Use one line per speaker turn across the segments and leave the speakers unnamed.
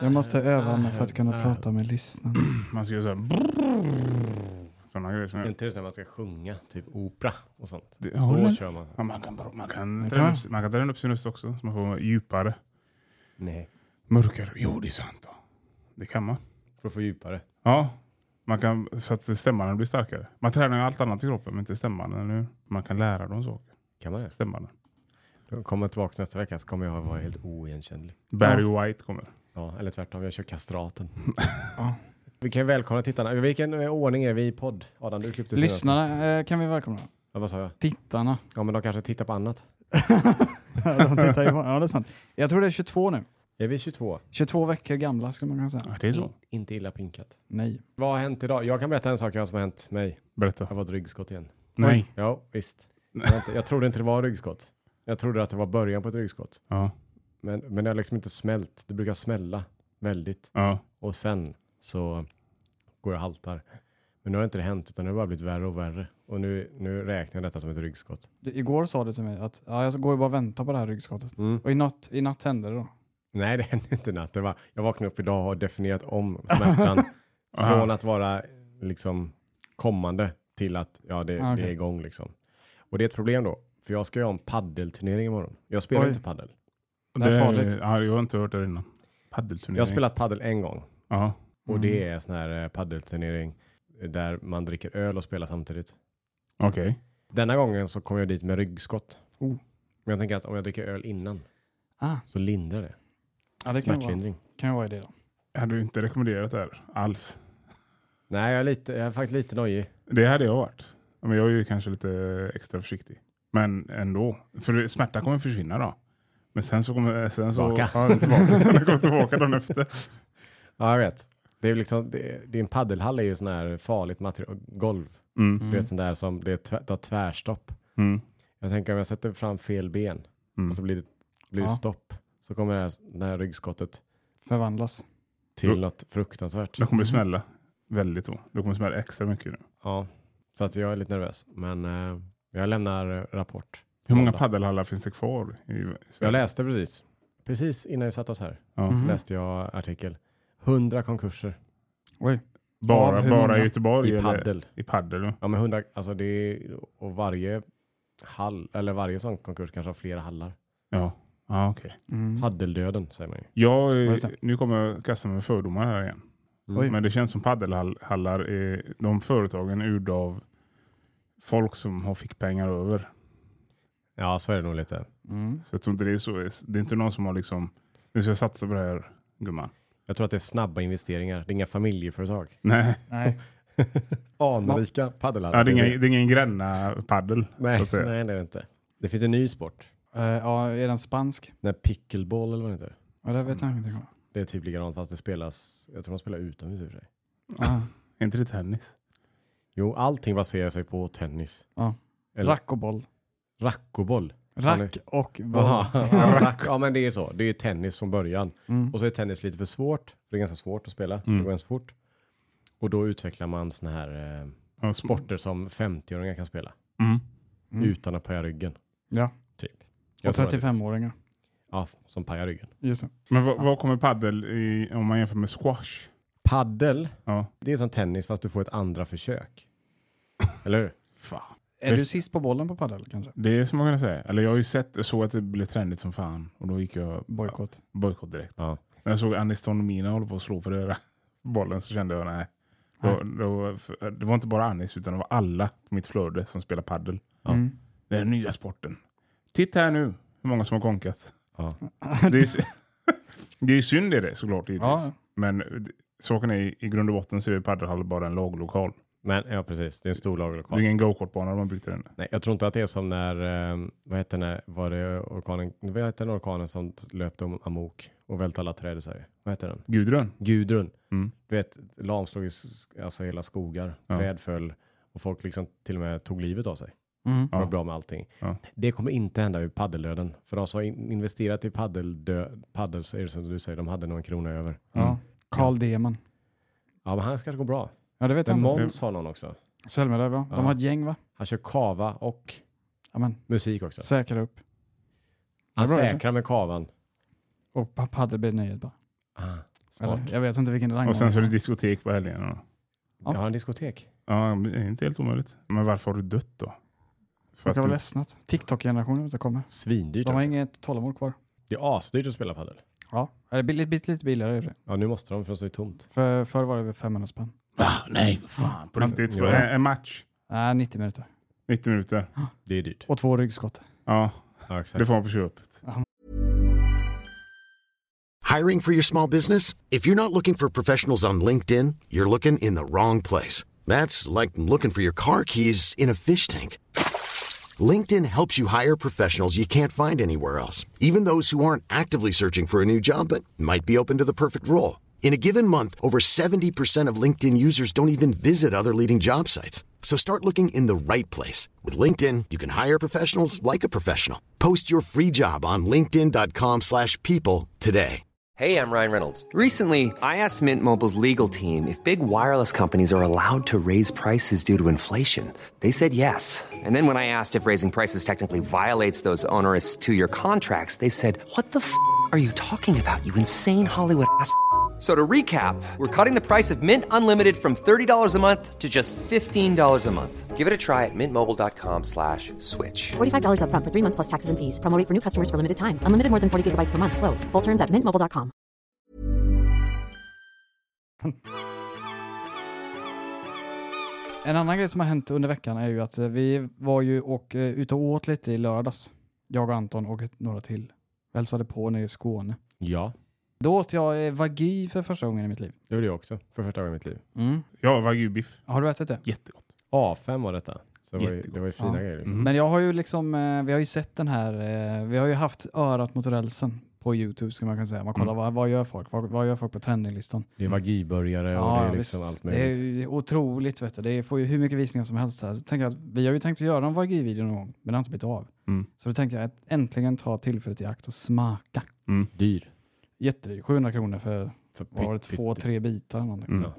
Jag måste öva mig för att
Ah.
kunna prata med lyssnarna.
Man ska ju säga sådana grejer som jag.
Inte just när man ska sjunga, typ opera och sånt.
Det,
Då
håller.
kör man.
Ja, man kan, bara- man kan
Det
träna
kan
upp, man kan träna upp sin röst också så man får djupare.
Nej,
Mörker. Jo, det är sant. Då. Det kan man.
för att få djupare.
Ja, man kan, så att stämman blir starkare. Man tränar ju allt annat i kroppen, men inte stämman. eller hur? Man kan lära dem saker.
Kan man det?
Stämman.
Då kommer jag tillbaka nästa vecka så kommer jag vara helt oigenkännlig.
Barry White kommer.
Ja, eller tvärtom, jag kör kastraten.
Ja.
Vi kan ju välkomna tittarna. I vilken eh, ordning är vi i podd? Adam, du klippte senast.
Lyssnarna eh, kan vi välkomna.
Ja, vad sa jag?
Tittarna.
Ja, men de kanske tittar på annat.
De tittar ju på, ja, det är sant. Jag tror det är 22 nu.
Är vi 22?
22 veckor gamla skulle man kunna säga.
Ja, det är så.
Inte illa pinkat.
Nej.
Vad har hänt idag? Jag kan berätta en sak jag som har hänt mig.
Berätta.
Jag var ett ryggskott igen.
Nej.
Ja, visst. Jag, inte, jag trodde inte det var ryggskott. Jag trodde att det var början på ett ryggskott.
Ja.
Men, men det har liksom inte smält. Det brukar smälla väldigt.
ja.
Och sen så går jag och haltar. Men nu har inte det hänt, utan det har bara blivit värre och värre. Och nu, nu räknar jag detta som ett ryggskott.
Du, igår sa du till mig att ja, jag går ju bara och väntar på det här ryggskottet. Och i natt, i natt hände det då.
Nej, det hände inte i natt. Det var, jag vaknade upp idag och har definierat om smärtan. från att vara liksom kommande till att ja, det,
Ah, okej.
det är igång liksom. Och det är ett problem då, för jag ska ju ha en paddelturnering imorgon. Jag spelar
Oj.
inte paddel.
Det är farligt.
Ja, jag har inte hört det innan. Paddelturnering.
Jag har spelat paddel en gång
Ja.
och det
Mm.
är sån här eh, paddelturnering där man dricker öl och spelar samtidigt.
Okej.
Denna gången så kom jag dit med ryggskott.
Oh.
Men jag tänker att om jag dricker öl innan
Ah,
så lindrar det.
ja, det kan ju, vara,
Smärtlindring.
kan ju vara idé då.
Jag hade ju inte rekommenderat det här alls.
Nej, jag är, lite, jag är faktiskt lite nojig.
Det hade jag varit. Men jag är ju kanske lite extra försiktig. Men ändå. För smärta kommer försvinna då. Men sen så kommer... Sen så,
Tillbaka.
Ja, den tillbaka. Den kommer tillbaka dagen efter.
Ja, jag vet. Det är liksom, det, det är en paddelhall är ju sån här farligt material, golv.
Mm.
Du vet sån där som, det är tvär, det har tvärstopp.
Mm.
Jag tänker om jag sätter fram fel ben
Mm.
och så blir det, blir det
Ja.
stopp. Så kommer det här, det här ryggskottet
Förvandlas.
till
Då-
något fruktansvärt.
Det kommer smälla väldigt då. Det kommer smälla extra mycket nu.
Ja, så att jag är lite nervös. Men eh, jag lämnar eh, rapport.
Hur många
Kolla.
paddelhallar finns det kvar i i
Jag
Sverige?
läste precis, precis innan vi satte oss här,
Ja.
Mhm.
läste jag artikel. 100 konkurser
Oj.
Bara,
Av hur
bara
många?
i Göteborg?
i
eller?
paddel.
I paddel, ja.
Ja men 100, alltså det är, och varje hall, eller varje sån konkurs kanske har flera hallar.
Ja, ah, okej.
Mm.
Paddeldöden säger man ju.
Jag, eh,
Vad heter
nu kommer jag kasta mig med fördomar här igen.
Oj.
Men det känns som paddelhallar är de företagen urd av folk som har fick pengar över.
Ja, så är det nog lite.
Mm.
Så jag tror inte det är så. Det är inte någon som har liksom, nu ska jag satsa på det här gumman.
Jag tror att det är snabba investeringar. Det är inga familjeföretag.
Nej,
Nej.
Anrika
ja,
paddelhallar.
det är ingen, det är ingen gränna paddel.
Nej,
så att säga.
nej, det är det inte. Det finns en ny sport.
Eh, ja, är den spansk?
Den här pickleball eller vad det heter.
Ja, det vet jag ingenting om.
Det är typ likadant fast det spelas, jag tror de spelar utomhus i och för sig.
Ah,
Är inte det tennis?
Jo, allting baserar sig på tennis. Eller-
rack och boll.
Rackoboll.
Rack och boll.
Aha. Ja, rack- ja, men det är så. Det är tennis från början.
Mm.
Och så är tennis lite för svårt. för Det är ganska svårt att spela. Det
Mm.
går ganska fort. Och då utvecklar man såna här eh,
Ja,
sporter som 50-åringar kan spela.
Mm.
Mm.
Utan att paja ryggen.
Ja.
Typ.
Och
Jag tror att det-
35-åringar.
Ja, som pajar ryggen.
Just det.
Men vad, vad kommer paddel i, om man jämför med squash?
Paddel,
Ja.
det är som tennis fast du får ett andra försök. Eller hur?
Fan.
Är du sist på bollen på padel kanske?
Det är som man kan säga. Eller jag har ju sett, såg att det blev trendigt som fan och då gick jag
Bojkott.
bojkott direkt.
Ja.
När jag såg Aniston och Mina hålla på att slå på den där bollen så kände jag nej. Då, då, för- det var inte bara Anis utan det var alla på mitt flöde som spelar paddel.
Ja.
Mm.
Det är den nya sporten. Titta här nu hur många som har konkat.
Ja.
Det är, sy- det är ju synd i det såklart givetvis.
Ja.
Men d- saken är i grund och botten så är ju padelhall bara en laglokal.
Men ja, precis. Det är en stor
Det är
lagerlokal.
ingen gokartbana de har byggt där inne.
Nej, jag tror inte att det är som när, eh, vad hette den, var det orkanen, vad hette den orkanen som löpte om amok och välte alla träd i Sverige? Vad hette den?
Gudrun?
Gudrun.
Mm.
Du vet, lamslog ju s- alltså hela skogar,
Ja.
träd föll och folk liksom till och med tog livet av sig.
Mm.
Det var
Ja.
bra med allting.
Ja.
Det kommer inte hända vid paddeldöden. För de som har in- investerat i paddeldö, paddel så är det som du säger, de hade nog en krona över.
Ja. Mm. Carl Deman.
Ja, men han kanske går bra.
Ja, det vet jag
Men
inte.
Måns har någon också.
Sölvelöv, va?
Ja.
De har ett gäng, va?
Han kör kava och
Amen.
musik också.
Säkra upp.
Han
bra,
säkrar med kavan.
Och pa- padel blir nöjet bara. Eller,
Smart.
jag vet inte vilken rang
Och sen så är det diskotek på helgerna. då.
Ja.
Jag har en diskotek.
Ja, men det är inte helt omöjligt. Men varför har du dött då? För
Jag kan
att
vara
du,
ledsnat. TikTok-generationen återkommer.
Svindyrt
De har
också.
inget tålamod kvar.
Det är asdyrt att spela padel.
Ja, det blir lite, lite billigare i och för sig.
Ja, nu måste de för de står ju tomt.
För, förr var det över 500 spänn.
ah, nej, vad fan. På
Ja.
riktigt. För
Ja.
en, en match,
Nej, 90 minuter.
90 minuter.
Det är dyrt.
Och två ryggskott.
Ja,
Ja, exakt.
det får man på köpet.
Hiring for your small business? If you're not looking for professionals on LinkedIn, you're looking in the wrong place. That's like looking for your car keys in a fish tank. LinkedIn helps you hire professionals you can't find anywhere else, even those who aren't actively searching for a new job but might be open to the perfect role. In a given month, over 70% of LinkedIn users don't even visit other leading job sites. So start looking in the right place. With LinkedIn, you can hire professionals like a professional. Post your free job on linkedin.com/people slash people today.
Hey, I'm Ryan Reynolds. Recently, I asked Mint Mobile's legal team if big wireless companies are allowed to raise prices due to inflation. They said yes. And then when I asked if raising prices technically violates those onerous two year contracts, they said, What the f are you talking about, you insane Hollywood ass? f- So to recap, we're cutting the price of Mint Unlimited from $30 a month to just $15 a month. Give it a try at mintmobile.com slash switch.
$45 upfront for three months plus taxes and fees. Promo rate for new customers for limited time. Unlimited more than 40 gigabytes per month. Slows. Full terms at mintmobile.com.
En annan grej som har hänt under veckan är ju att eh, vi var ju och, eh, ute och åt lite i lördags. Jag och Anton och ett- några till. Hälsade på nere i Skåne.
Ja,
Då åt jag eh, wagyu för första gången i mitt liv.
det gjorde jag också. För första gången i mitt liv.
Ja, wagyubiff.
Har du
Mm.
ätit det?
Jättegott.
A5 var detta. Så det var ju,
Jättegott.
det var ju fina
Ja.
grejer. Liksom.
Men jag har ju liksom, eh, vi har ju sett den här, eh, vi har ju haft örat mot rälsen på Youtube ska man kunna säga. Man
Mm.
kollar vad, vad gör folk? Vad, vad gör folk på trendinglistan?
Det är vagiburgare och det är liksom
visst.
allt
det är
möjligt.
ju otroligt vet du. Det får ju hur mycket visningar som helst. Här. Så tänker jag att vi har ju tänkt att göra en VG-video någon gång, men det har inte blivit av.
Mm.
Så då tänker jag att äntligen ta tillfället i akt och smaka.
Dyr.
Jättedyr, 700 kronor för
För
vad var det,
pytt-
två,
pytt-
tre bitar. eller någonting.
Mm.
Ja.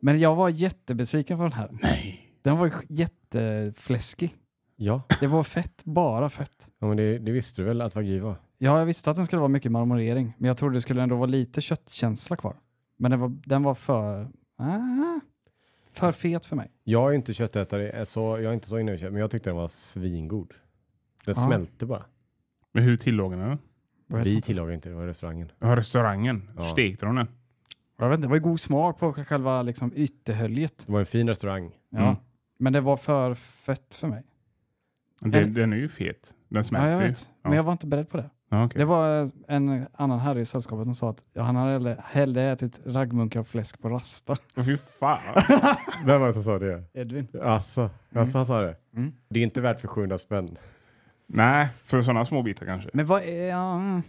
Men jag var jättebesviken på den här.
Nej.
Den var ju jättefläskig.
Ja,
Det var fett, bara fett.
ja men det, det visste du väl att vagi var?
Ja, jag visste att den skulle vara mycket marmorering, men jag trodde det skulle ändå vara lite köttkänsla kvar. Men den var, den var för... Ah, för fet för mig.
Jag är inte köttätare, eh, så jag är inte så inne i kött, men jag tyckte den var svingod. Den
Ja.
smälte bara.
Men hur tillagar ni den?
Jag vet,
Vi
inte.
tillagade inte, det var restaurangen.
Ja, Restaurangen.
Ja.
Stekte de den?
jag vet inte, det var ju god smak på själva liksom, ytterhöljet.
Det var en fin restaurang.
Ja.
Mm.
Men det var för fett för mig.
Den, den är ju fet. Den
Ja, jag
smälter ju.
vet. Men jag var inte beredd på det.
Ja, okej.
Det var en annan herre i sällskapet som sa att ja, han hade hellre ätit raggmunkar och fläsk på rasta.
Åh, Fy fan.
Vem var det som sa det?
Edvin.
Alltså, alltså han sa det.
Mm.
Det är inte värt för 700 spänn.
Nej, för sådana små bitar kanske.
Men vad är... Ja,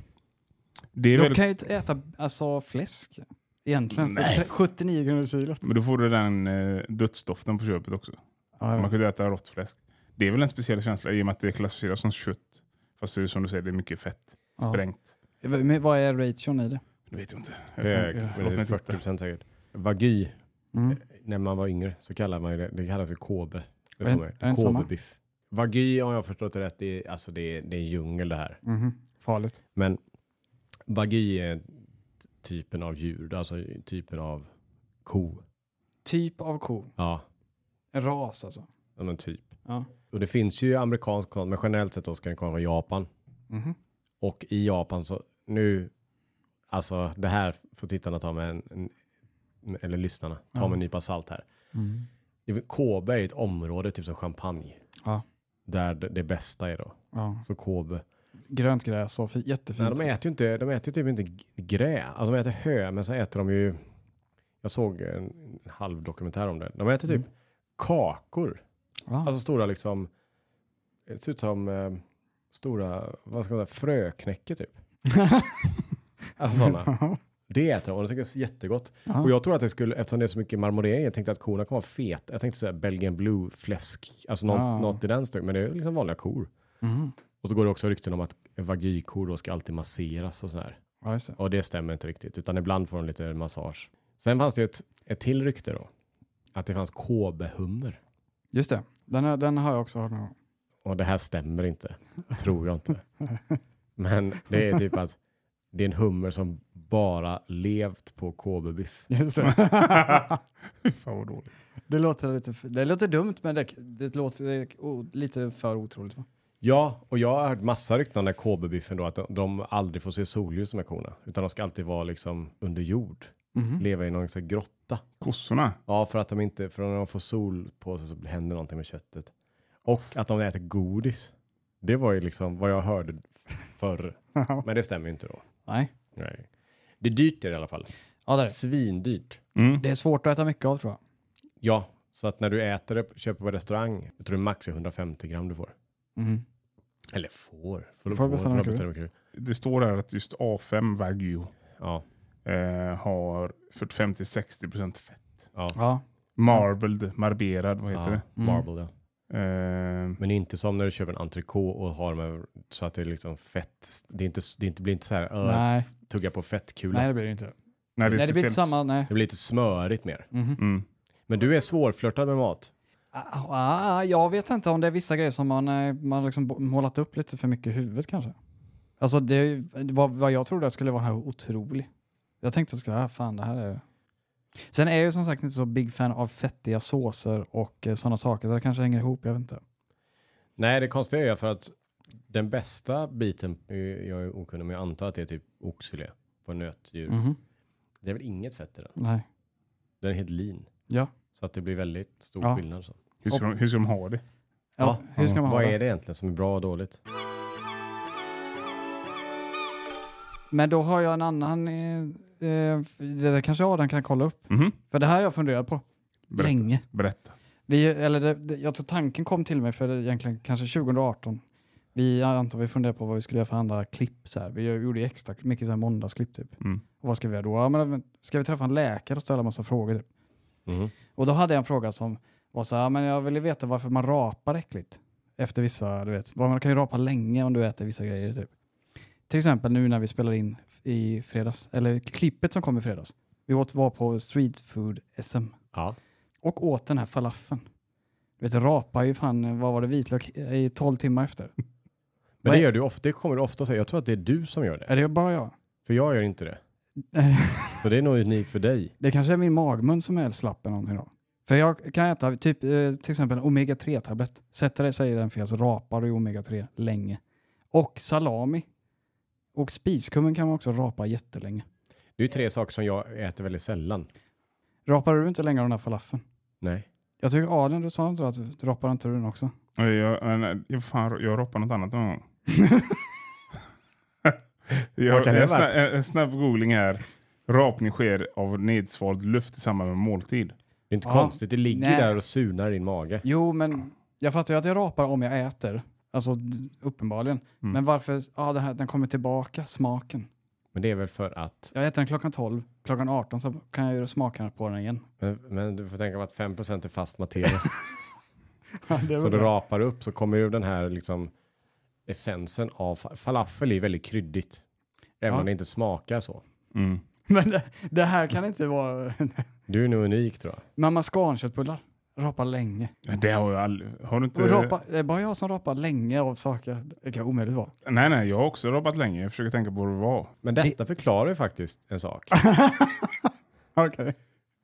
Det är
jag
väl,
kan ju inte äta alltså, fläsk egentligen. För
Nej.
tre- 79 kronor kilot.
Men då får du den eh, dödsdoften på köpet också.
Ja, jag
Man
vet.
kunde äta rått fläsk. Det är väl en speciell känsla i och med att det klassificeras som kött. Fast det är som du säger, det är mycket fett.
Ja.
Sprängt.
Men vad är ration i det?
Det vet jag inte. Eh, Jag
Det är,
kan- jag-
Eh, men
låt
det är
mig
40
titta.
procent säkert. Vagi,
Mm.
när man var yngre så kallade man ju det, det kallas för kobe. Det är
Är-
som
är det
är
inte samma?
Kobebiff. Vagi, om jag har förstått det rätt, det är, alltså det är, det är en djungel det här.
Mm.
Farligt.
Men vagi är t- typen av djur, alltså typen av ko.
Typ av ko.
Ja,
En ras alltså.
ja, men typ.
Ja.
Och det finns ju amerikansk kost, men generellt sett då ska den komma från Japan. Och i Japan så, nu, alltså det här får tittarna ta med en, en eller lyssnarna, ta med en nypa salt här. Mm. Kobe är ett område, typ som champagne,
Ja.
där det, det bästa är då.
ja.
Så Kobe.
Grönt gräs och fi-
Nej,
jättefint.
de äter ju inte, de äter ju typ inte g- grä, alltså de äter hö, men så äter de ju, jag såg en, en halv dokumentär om det, de äter typ kakor.
Va?
Alltså stora liksom, det ser ut som eh, stora, vad ska man säga, fröknäcke typ. alltså sådana. Det äter de och de tycker det är jättegott.
Ja.
Och jag tror att det skulle, eftersom det är så mycket marmorering, jag tänkte att korna kommer vara fet. Jag tänkte säga Belgian blue fläsk, alltså något,
Ja.
något i den stunden. Men det är liksom vanliga kor.
Mhm.
Och så går det också rykten om att vagykor då ska alltid masseras och sådär.
Ja, just det.
Och det stämmer inte riktigt, utan ibland får de lite massage. Sen fanns det ett, ett till rykte då. Att det fanns kobehummer.
Just det. Den, är, den har jag också hört någon gång.
och det här stämmer inte, tror jag inte. Men det är typ att det är en hummer som bara levt på KB-biff.
Just det.
Fy Fan vad dåligt.
det, låter lite, f- det låter dumt, men det, det låter eh, o- lite för otroligt. Va?
Ja, och jag har hört massa rykten om den här KB-biffen då, att de, de aldrig får se solljus med korna. Utan de ska alltid vara liksom under jord.
Mhm.
Leva i någon slags grotta.
Kossorna.
Ja, för att de inte, för när de får sol på sig så blir- händer någonting med köttet. Och att de äter godis. Det var ju liksom vad jag hörde förr. Men det stämmer ju inte då.
Nej.
Nej. Det är dyrt är det i alla fall.
Ja, det, är det.
Svindyrt.
det är svårt att äta mycket av tror jag.
Ja, så att när du äter det, köper på restaurang, jag tror det max är 150 gram du får.
Mhm.
Eller får. Får,
Får
får,
bestämma
får
kul.
bestämma kul.
Det står här att just A5 Wagyu
Ja,
eh, har 45-60% fett.
Ja.
Marbled, marberad, vad heter
ja marble ja.
det? Eh,
Men inte som när du köper en entrecote och har med, så att det är liksom fett. Det, är inte, det är inte, blir inte så här, "Öh,
Nej.
tugga på fettkula.
Nej, det blir det inte.
nej,
Nej, det blir inte
speciellt.
samma. Nej.
Det blir lite smörigt mer.
Mm.
Men du är svårflörtad med mat.
Ah, ah, jag vet inte om det är vissa grejer som man, eh, man liksom bo- målat upp lite för mycket i huvudet kanske. Alltså det, det var vad jag trodde att skulle vara den här otrolig. Jag tänkte att ah, fan det här är... Sen är jag ju som sagt inte så big fan av fettiga såser och eh, sådana saker så det kanske hänger ihop, jag vet inte.
Nej, det konstiga är för att den bästa biten, eh, jag är okunnig men jag antar att det är typ oxfilé på nötdjur. Det är väl inget fett i den.
Nej.
Den är helt lean.
Ja.
Så att det blir väldigt stor
Ja.
skillnad. Så.
Hur, ska de, hur ska de ha det?
Ja,
Ja,
hur ska man ha
Vad
det?
är det egentligen som är bra och dåligt?
Men då har jag en annan... Eh, eh, det där kanske Adam kan kolla upp.
Mhm.
För det här har jag funderat på
Berätta.
länge.
Berätta.
Vi, eller det, det, jag tror tanken kom till mig för egentligen kanske 2018. Vi jag antar vi funderade på vad vi skulle göra för andra klipp. Så här. Vi gör- gjorde ju extra mycket så här måndagsklipp typ.
Mm.
Och vad ska vi göra då? Ja, men, ska vi träffa en läkare och ställa massa frågor? Typ? Och då hade jag en fråga som var så här, "Ja, men jag ville veta varför man rapar äckligt. Efter vissa, du vet, man kan ju rapa länge om du äter vissa grejer typ. Till exempel nu när vi spelar in i fredags, eller klippet som kom i fredags. Vi åt var på Street Food SM
Ja.
och åt den här falafeln. Du vet, rapa ju fan, vad var det, vitlök i 12 timmar efter.
Men
Vad
det
är-
gör du ofta, det kommer du ofta säga. Jag tror att det är du som gör det.
Är det bara jag?
För jag gör inte det. Så det är nog unikt för dig.
Det kanske är min magmun som är slapp eller någonting då. För jag kan äta typ, eh, till exempel en omega-3-tablett. Sätter det sig i den fel så rapar du omega-3 länge. Och salami. Och spiskummen kan man också rapa jättelänge.
Det är ju tre saker som jag äter väldigt sällan.
Rapar du inte länge av den här falafeln?
Nej. jag
Jag tycker Adrian, du sa inte att du rapar inte du den också?
Eh, Jag, jag, jag, fan, jag roppar något annat någon gång.
Vart
jag,
kan det
en,
ha
snabb,
varit?
en, en snabb googling här. Rapning sker av nedsvald luft i samband med måltid.
Det är inte
Ja.
konstigt, det ligger
Nej.
där och surnar i din mage.
Jo, men jag fattar ju att jag rapar om jag äter. Alltså d- uppenbarligen. Men varför, ja den här, den kommer tillbaka, smaken.
Men det är väl för att,
Jag äter den klockan 12, klockan 18 så kan jag ju smaka på den igen.
men, men du får tänka på att 5% är fast materia.
det
så du rapar upp så kommer ju den här liksom essensen av, fa- falafel är väldigt kryddigt. Även
Ja.
om det inte smakar så.
men det, det här kan inte vara...
Du är nog unik tror jag.
Mamma Scan-köttbullar. Rapar länge.
Det har jag aldrig... Har du inte...
Och rapa, det är bara jag som rapar länge av saker. Det kan omöjligt vara.
Nej, nej, jag har också robbat länge. Jag försöker tänka på vad det var.
Men detta förklarar ju faktiskt en sak.
Okej.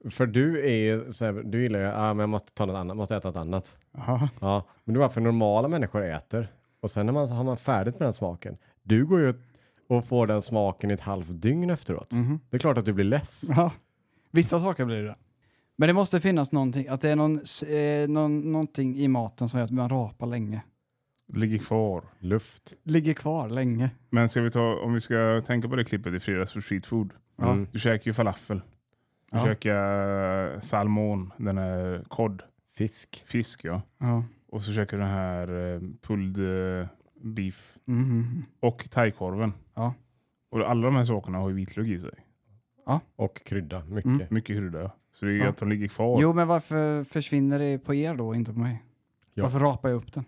För du är ju så här, du gillar ju, ah, men jag måste ta något annat, måste äta något annat.
Ja.
Ja, men det är varför normala människor äter. Och sen när man har man färdigt med den smaken. Du går ju och får den smaken i ett halvt dygn efteråt.
Mhm.
Det är klart att du blir less.
Ja. Vissa saker blir det. Men det måste finnas någonting, att det är någon, s- eh, någon, någonting i maten som gör att man rapar länge.
Det ligger kvar.
Luft.
Ligger kvar länge.
Men ska vi ta, om vi ska tänka på det klippet i fredags för street food.
Mm.
Du käkar ju falafel. Du
Ja.
käkar eh, salmon, den här kod,
Fisk.
fisk ja.
Ja.
Och så käkar du den här eh, pulled eh, beef
Mhm.
och thaikorven.
Ja.
Och alla de här sakerna har ju vitlök i sig.
Och krydda. Mycket.
Mm.
Mycket krydda ja. Så det är ju
Ja.
att de ligger kvar.
Jo, men varför försvinner det på er då, inte på mig?
Ja.
Varför rapar jag upp den?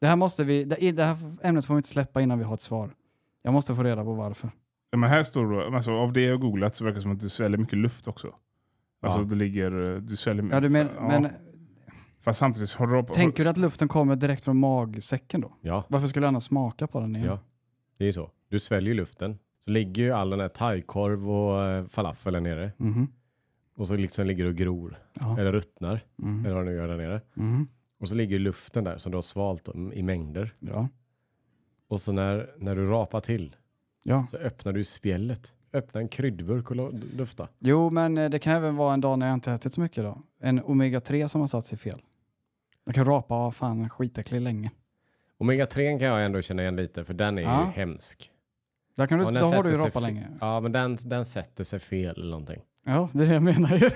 Det här, måste vi, det, i det här ämnet får vi inte släppa innan vi har ett svar. Jag måste få reda på varför.
Men här står det, alltså, av det jag googlat så verkar det som att du sväljer mycket luft också. Alltså
Ja.
det ligger, eh, du sväljer
Ja, du men, men
Fast samtidigt så har du...
tänker du att luften kommer direkt från magsäcken då?
Ja.
Varför skulle jag annars smaka på den igen?
Ja. Det är så. Du sväljer luften Så ligger ju all den här thaikorv och eh, falafel där nere.
Mhm.
Och så liksom ligger det och gror.
Ja.
Eller ruttnar.
Mhm.
Eller vad det nu gör där nere.
Mhm.
Och så ligger luften där som du har svalt om i mängder.
Ja.
Och så när, när du rapar till
ja.
så öppnar du spjället. Öppna en kryddburk och lo- lufta.
Jo, men eh, det kan även vara en dag när jag inte ätit så mycket då. En omega-3 som har satt sig fel. Jag kan rapa, ah, fan skitäcklig länge.
Omega 3 kan jag ändå känna igen lite för den är
Ja.
ju hemsk.
Där kan du,
Och
då
den
har du ju
sätter sig
rapat
fe-
länge.
Ja, men den, den sätter sig fel eller någonting.
Ja, det är det jag menar ju.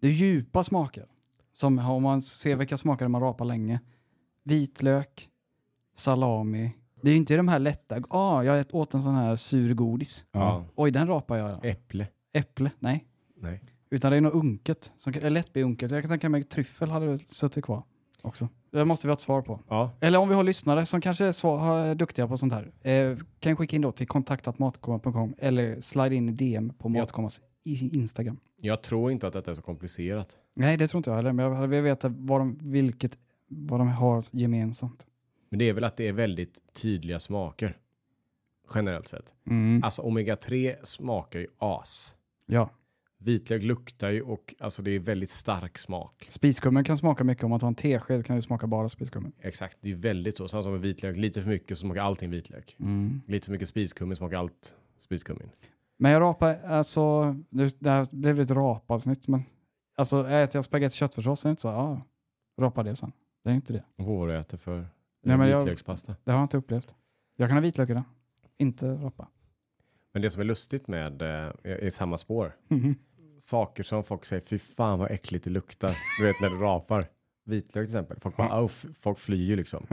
Det är djupa smaker. Som om man ser vilka smaker man rapar länge. Vitlök, salami. Det är ju inte de här lätta. Ah, jag åt en sån här sur godis.
Ja.
Oj, den rapar jag. ja.
Äpple.
Äpple? Nej.
Nej.
Utan det är något unket. Som kan, eller lätt blir unket. Jag kan tänka mig att tryffel hade suttit kvar också. Det måste vi ha ett svar på.
Ja,
Eller om vi har lyssnare som kanske är svar, duktiga på sånt här. Eh, kan jag skicka in då till kontaktatmatkomma.com eller slide in i DM på Matkommas i- Instagram.
jag tror inte att detta är så komplicerat.
Nej, det tror inte jag heller. Men jag hade velat veta vad de, vilket, vad de har gemensamt.
Men det är väl att det är väldigt tydliga smaker. Generellt sett.
Mm.
Alltså omega 3 smakar ju as.
Ja.
Vitlök luktar ju och alltså det är väldigt stark smak.
Spiskummen kan smaka mycket. Om man tar en tesked kan det smaka bara spiskummen.
Exakt, det är ju väldigt så. Samma som med vitlök, lite för mycket så smakar allting vitlök.
Mm.
Lite för mycket spiskummin smakar allt spiskummin.
Men jag rapar, alltså, nu- det här blev ett rapavsnitt, men alltså äter jag spagetti köttfärssås så är det inte så, ja, rapa det sen. Det är inte det.
Och Vad var det jag äter för Nej,
Nej, men jag-
vitlökspasta?
Det har jag inte upplevt. Jag kan ha vitlök i den. Inte rapa.
Men det som är lustigt med, eh, är är samma spår.
Mhm.
Saker som folk säger, fy fan vad äckligt det luktar. Du vet när du rapar. Vitlök till exempel. Folk bara, "Au", f- folk flyr ju liksom.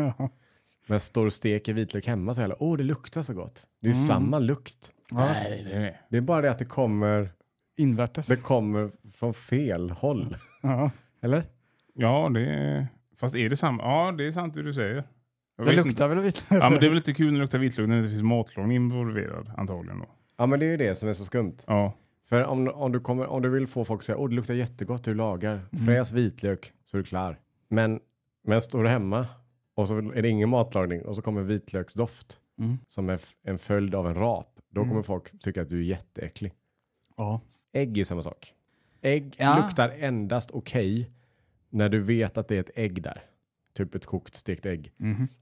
Men står och steker vitlök hemma så här, åh det luktar så gott. Det är
Mm.
ju samma lukt.
Nej, nej, nej.
Det är bara det att det kommer,
Invärtes.
det kommer från fel håll.
Ja.
Eller?
Ja, det är... Fast är det samma? Ja, det är sant det du säger. Jag
Det
vet
luktar väl vitlök?
Ja, men det är väl lite kul när det luktar vitlök när det finns matlagning involverad antagligen då.
Ja men det är ju det som är så skumt.
Ja,
För om, om, du kommer, om du vill få folk att säga åh det luktar jättegott du lagar, fräs vitlök så är du klar. Men, men står du hemma och så är det ingen matlagning och så kommer vitlöksdoft som är f- en följd av en rap, då kommer folk tycka att du är jätteäcklig.
Ja.
Ägg är samma sak. Ägg
Ja.
luktar endast okej när du vet att det är ett ägg där. Typ ett kokt stekt ägg.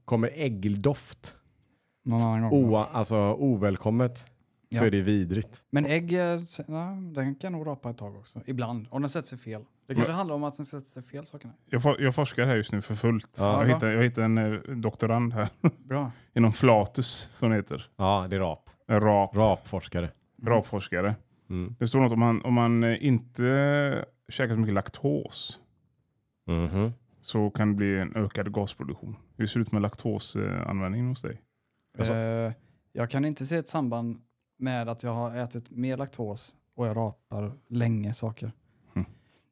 Kommer äggdoft,
Någon annan gång.
o, alltså ovälkommet, så
Ja.
är det vidrigt.
Men ägg, eh, se- ja, den kan nog rapa ett tag också. Ibland. Om den sätter sig fel. Det kanske handlar om att den sätter sig fel sakerna.
jag, for, jag forskar här just nu för fullt.
Ja,
jag,
bra.
hittar, jag hittar en eh, doktorand här
Bra.
inom flatus som det heter.
Ja, det är rap.
En rap,
Rapforskare.
rapforskare.
Mm.
Det står något om man, om man eh, inte käkar så mycket laktos
Mhm.
så kan det bli en ökad gasproduktion. Hur ser det ut med laktosanvändningen hos dig? Alltså-
Eh, jag kan inte se ett samband med att jag har ätit mer laktos och jag rapar länge saker.
Mm.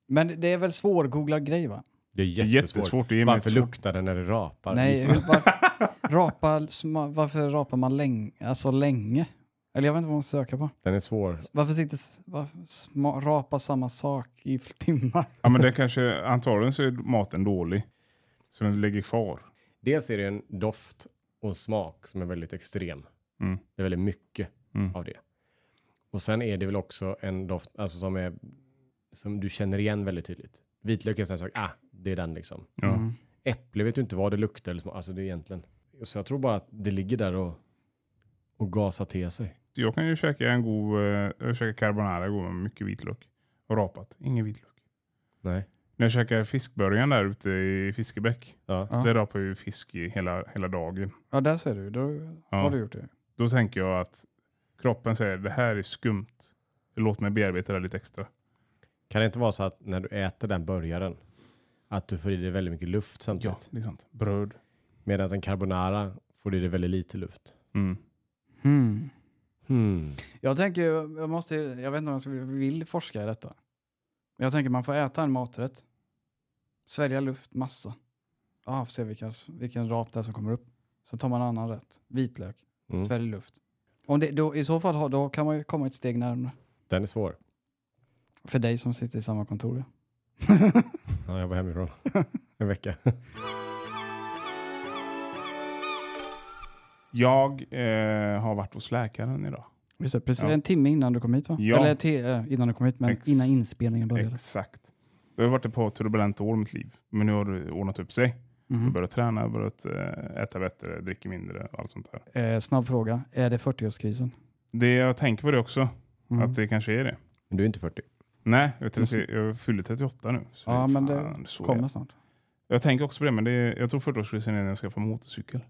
Men det är väl svårgooglad grej va?
Det är
Det är
jättesvårt.
jättesvårt. Det är
Varför
jättesvårt.
luktar den när det rapar?
Nej,
Gissa.
varför, rapa, sma- varför rapar man länge? Alltså länge? Eller jag vet inte vad man ska söka på.
Den är svår.
S- Varför sitter s- varför sma, rapa samma sak i fl- timmar?
Ja, men det kanske, antagligen så är maten dålig. Så den ligger kvar.
Dels är det en doft och en smak som är väldigt extrem.
Mm.
Det är väldigt mycket
Mm.
av det. Och sen är det väl också en doft alltså som, är, som du känner igen väldigt tydligt. Vitlök är en sån här sak, ah, det är den liksom.
Ja.
Äpple vet du inte vad det luktar eller smak, alltså det är egentligen. Så jag tror bara att det ligger där och, och gasar till sig.
Jag kan ju käka en god, eh, jag käkar carbonara igår med mycket vitlök. Och rapat, ingen vitlök.
Nej.
När jag käkade fiskbörjan där ute i Fiskebäck,
Ja.
Ja.
där rapade ju fisk i hela, hela dagen.
Ja, där ser du. Då
Ja.
har du gjort det.
Då tänker jag att kroppen säger det här är skumt. Låt mig bearbeta det lite extra.
Kan det inte vara så att när du äter den burgaren, att du får i dig väldigt mycket luft samtidigt?
det är sant. Bröd.
Medan en carbonara får i dig väldigt lite luft.
Mm.
Hmm.
Jag tänker, ju- jag, måste, jag vet inte om jag skulle- vill forska i detta. Men jag tänker man får äta en maträtt, svälja luft, massa. Ja, får se vilka, vilken rap det är som kommer upp. Så tar man en annan rätt, vitlök,
Mm.
svälj luft. Om det, då, I så fall har- då kan man ju komma ett steg närmare.
Den är svår.
För dig som sitter i samma kontor. ja.
Ja, jag var hemifrån en vecka.
Jag eh, har varit hos läkaren idag.
Just det, precis
Ja.
en timme innan du kom hit va?
Ja.
Eller te- eh, innan du kom hit, men
Ex-
innan inspelningen började.
Exakt. Jag har varit ett par turbulenta år i mitt liv, men nu har det ordnat upp sig. Jag
Mhm.
börjar träna, jag börjat eh, äta bättre, dricka mindre och allt sånt där.
Eh, snabb fråga, är det 40-årskrisen?
Det, jag tänker på det också,
Mm.
att det kanske är det.
Men du är inte 40.
Nej, jag, är
Just
30, jag fyller 38 nu. så
Ja,
är
men det
fan så
Kommer
jag.
snart.
jag tänker också på det, men det, är- jag tror 40-årskrisen är när jag ska få motorcykel.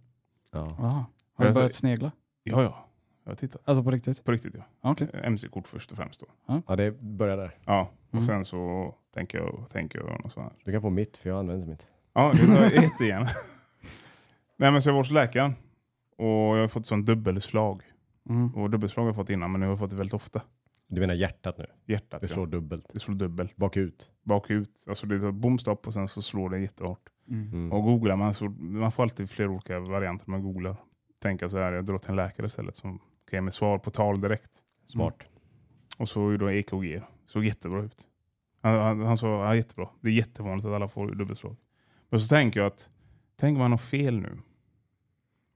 Ja.
Aha. Har du
Jag-
börjat snegla?
Ja, ja. Jag har tittat.
Alltså på riktigt?
På riktigt, ja.
Okej.
MC-kort först och främst då.
ja, det börjar där.
Ja, och
Mm.
sen så tänker jag, tänker jag något sånt här.
Du kan få mitt, för jag använder inte mitt.
Ja, det tar jag jättegärna. Nej, men så jag var hos läkaren och jag har fått sån dubbelslag.
Mm.
Och dubbelslag har jag fått innan, men nu har jag fått det väldigt ofta.
Du menar hjärtat nu?
Hjärtat.
Det slår
ja.
dubbelt.
det slår dubbelt.
Bakut.
Bakut. Alltså det tar bomstopp och sen så slår det jättehårt.
Mm.
Och googlar man så man får alltid flera olika varianter när man googlar. Tänka så här, jag drar till en läkare istället som kan ge mig svar på tal direkt.
Smart.
Och så är ju då EKG. Såg jättebra ut. Han, han, han sa, ja jättebra. Det är jättevanligt att alla får dubbelslag. Men så tänker jag att, tänk om han har fel nu.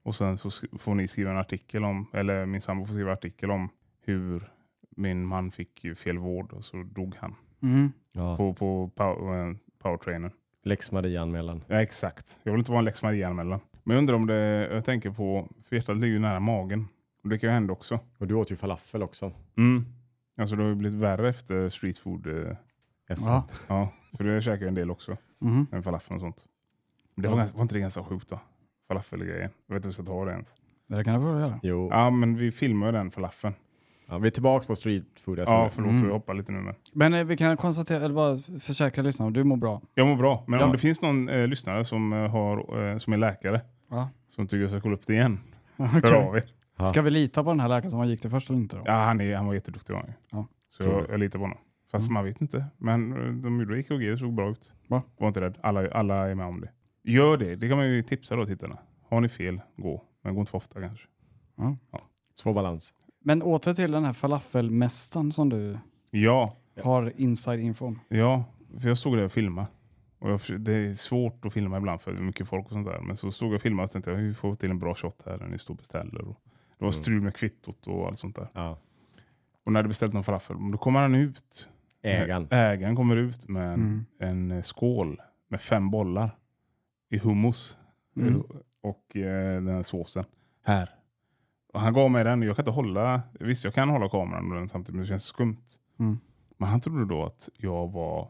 Och sen så sk- får ni skriva en artikel om, eller min sambo får skriva en artikel om hur min man fick ju fel vård och så dog han
Mm.
Ja.
på, på power, eh, powertrainen.
Lex Maria-anmälan.
Ja, exakt. Jag vill inte vara en lex Maria-anmälan. Men jag undrar om det, jag tänker på, för hjärtat ligger ju nära magen. Och det kan ju hända också.
Och du åt ju falafel också.
Mm. Alltså det har ju blivit värre efter streetfood. eh,
Ja.
Ja, för det käkar jag en del också.
Mhm.
En falafel och sånt. Men det var, ganska, var inte det ganska sjukt då? Falafelgrejen. Jag vet inte hur jag ska ta det ens.
Det kan jag väl göra.
Jo.
Ja, men vi filmar ju den falafeln.
Ja, vi är tillbaka på street food. Alltså.
Ja, förlåt,
Mm.
jag hoppar lite nu. Men.
Men eh, vi kan konstatera, eller bara försäkra lyssnarna, du mår bra.
Jag mår bra, men
Ja.
om det finns någon eh, lyssnare som, eh, har, eh, som är läkare
Ja.
som tycker jag ska kolla upp det igen, hör av er.
Ja.
Ska vi lita på den här läkaren som han gick till först eller inte? Då?
Ja, han, är, han var jätteduktig var han ju.
Ja.
Så
Tror
jag,
du?
jag litar på honom. Fast man vet inte. Men eh, de gjorde EKG, det såg bra ut.
Bra.
Var inte rädd. Alla, alla är med om det. Gör det. Det kan man ju tipsa då tittarna. Har ni fel, gå. Men gå inte för ofta kanske.
Svår balans.
Men åter till den här falafelmästaren som du
Ja,
har inside info om.
ja. För jag stod där och filmade. Och jag, försö- det är svårt att filma ibland för det är mycket folk och sånt där. Men så stod jag och filmade och tänkte jag, hur får vi till en bra shot här när ni står och beställer? Och det var strul med kvittot och allt sånt där.
Ja.
Och när jag hade beställt någon falafel, då kommer han ut
Ägaren.
Ägaren kommer ut med en,
Mm.
en eh, skål med fem bollar i hummus
Mm.
och eh, den här såsen. Här. Och han gav mig den och jag kan inte hålla, visst jag kan hålla kameran och den samtidigt men det känns skumt.
Mm.
Men han trodde då att jag var